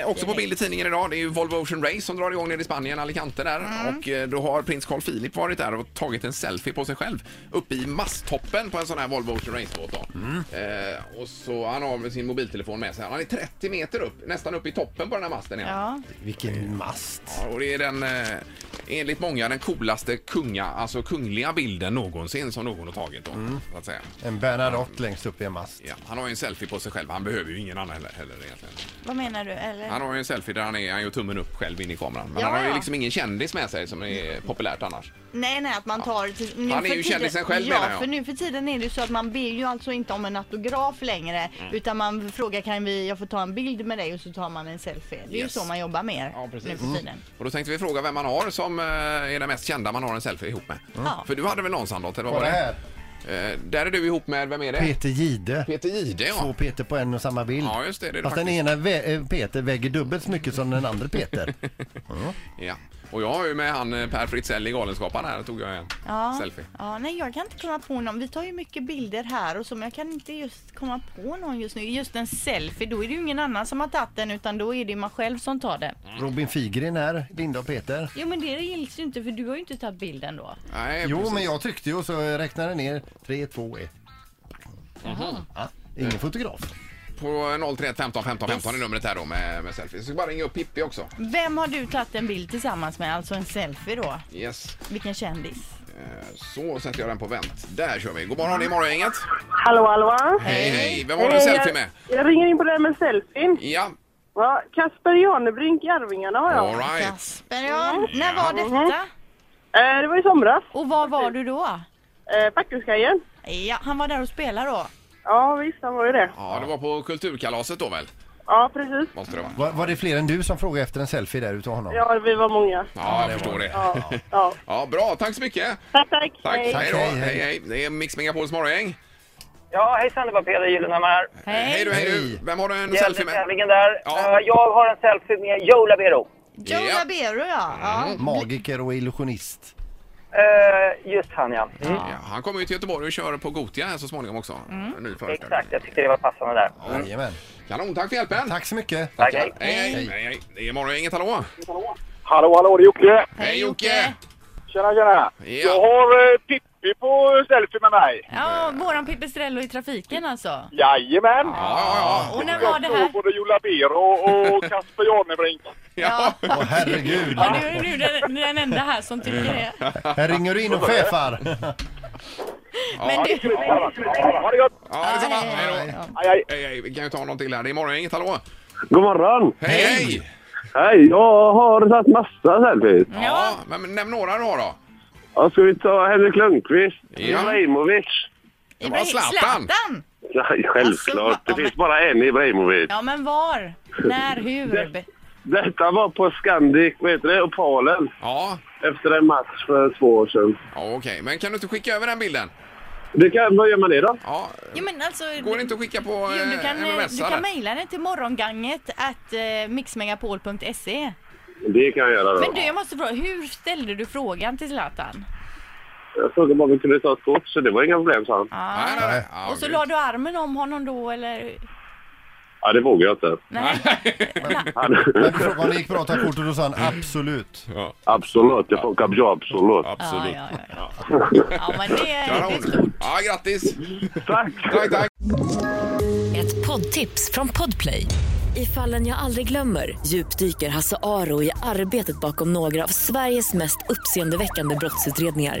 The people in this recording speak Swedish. Eh, också på bild i tidningen idag. Det är ju Volvo Ocean Race som drar igång nere i Spanien, Alicante där. Och eh, då har prins Carl Philip varit där och tagit en selfie på sig själv uppe i masttoppen på en sån här Volvo Ocean Race-båt. då. Eh, och så han har med sin mobiltelefon med sig. Han är 30 meter upp, nästan upp i toppen på den här masten. igen. Ja. Vilken mast. Ja, och det är den, eh, enligt många, den coolaste kunga, alltså kungliga bilden någonsin som någon har tagit. Då, så att säga. En Bernadotte längst upp i en mast. Ja, han har ju en selfie på sig själv. Han behöver ju ingen annan heller, heller egentligen. Vad menar du? Eller? Han har ju en selfie där han är, han gör tummen upp själv in i kameran. Men Ja, han har ju ja. liksom ingen kändis med sig som är populärt annars. Nej, nej, att man tar... Till, nu Han är för ju tiden- kändisen själv, Ja, menar jag. för nu för tiden är det ju så att man ber ju alltså inte om en autograf längre. Mm. Utan man frågar kan vi, jag får ta en bild med dig och så tar man en selfie. Det är Yes. ju så man jobbar mer Ja, precis. Mm. nu för tiden. Och då tänkte vi fråga vem man har som eh, är den mest kända man har en selfie ihop med. Ja. För du hade väl någon Sandholt? Eller vad Kolla var det? här. Eh, där är du ihop med, vem är det? Peter Gide. Peter Jihde Två ja. Peter på en och samma bild. Ja, just det, det är det Fast den faktiskt. ena vä- eh, Peter väger dubbelt så mycket som den andra Peter. ja. Och jag har ju med han eh, Per Fritzell i Galenskaparna här, tog jag en Ja. selfie. ja, nej jag kan inte komma på någon. Vi tar ju mycket bilder här och så men jag kan inte just komma på någon just nu. Just en selfie, då är det ju ingen annan som har tagit den utan då är det ju man själv som tar den. Mm. Robin Figren här, Linda och Peter. Jo men det gills ju inte för du har ju inte tagit bilden då. Nej, Jo, precis. men jag tryckte ju och så räknade jag ner. Tre, två, ett. Ja, ingen fotograf. På 031 15 15 15 är numret här då med, med selfie. Så ska bara ringa upp Pippi också. Vem har du tagit en bild tillsammans med? Alltså en selfie då? Yes. Vilken kändis? Eh, Så sätter jag den på vänt. Där kör vi. God morgon, det är Morgongänget. Hallå, hallå! Hej, hej. Vem har du en Hej, selfie med? Jag, jag ringer in på det här med selfien. Ja, Ja, Kasper Janebrink i Arvingarna har jag. all right. Kasper, ja. Mm. När var detta? Eh, det var i somras, Mm. Och var var du då? eh, Backuskajen. Ja, han var där och spelade då. Ja, visst, han var ju det. Ja, det var på kulturkalaset då väl? Ja, precis. Måste det vara. Var, var det fler än du som frågade efter en selfie där utav honom? Ja, vi var många. Ja, jag förstår det. Ja. Ja, ja. bra. Tack så mycket. Tack, tack. Tack. Hej, då. Hej, Hej, hej. hej. Det är Mix Megapols morgongäng. Ja, hejsan, det var Peder Gyllenhammar här. Hej. du, hej du. Hej. Vem har du en Gällde selfie med? tävlingen där. Ja. Eh, jag har en selfie med Joe Labero. Joe Ja. Mm. Labero ja. ja. Magiker och illusionist. Eh, just han, ja. Mm. Ja, han kommer ju till Göteborg och kör på Gotia här så småningom också. En Ny föreställning. Exakt, jag tyckte det var passande där. Jajamän. Kanon, tack för hjälpen. Tack så mycket. Tack, Hej, hej. hej. Hej. hej, hej. Det är morgongänget, hallå. Hallå, hallå, det är Jocke. Hej, Jocke. Tjena, tjena. Jag har eh, Pippi på selfie med mig. Ja, våran Pipistrello i trafiken alltså. Jajamän. Ja, ja, Och när var Jag det tror här? både Jola Bero och Kasper Janebrink. ja. ja. Åh herregud. Ja, du är nu den, den enda här som tycker det. Här ringer du in och chefar. Men du... Ha det gott! ja detsamma. Nej. Hej då. Ja. Aj, aj. Hej, hej. Vi kan ju ta någon till här. Det är morgongänget, hallå. God morgon! Hej, hej. Hej! Jag har tagit massa selfies. Ja. Ja, men nämn några då. då. Ja, ska vi ta Henrik Lundqvist? Ja. Ibrahimovic? Det var Ibrahim- Zlatan. Nej, Alltså, självklart. ja, men- Det finns bara en Ibrahimovic. Ja, men var? När? Hur? Be- Detta var på Scandic, vad heter det, Opalen. Ja, Efter en match för två år sedan. ja okej. Men kan du inte skicka över den bilden? Det kan, vad gör man det då? Ja, Jo, men alltså... går det inte att skicka på Jo, eh, du kan, MMS? du eller? kan mejla den till morgonganget at eh, mixmegapol.se. Det kan jag göra då. Men du, jag måste fråga, hur ställde du frågan till Zlatan? Jag frågade bara om vi kunde ta ett kort, så det var inga problem, sa han. Ja. Nej, nej, nej. Ja, Och så gud. la du armen om honom då eller? Ja, det vågar jag inte. Nej. Han, Men du frågade om det gick bra att ta kort och då sa han absolut. absolut, det funkar bra, absolut. Ja, Absolut. ja, ja, ja. ja, men det är det är stort. Ja, grattis! Tack! Tack, tack! Ett poddtips från Podplay. I fallen jag aldrig glömmer djupdyker Hasse Aro i arbetet bakom några av Sveriges mest uppseendeväckande brottsutredningar.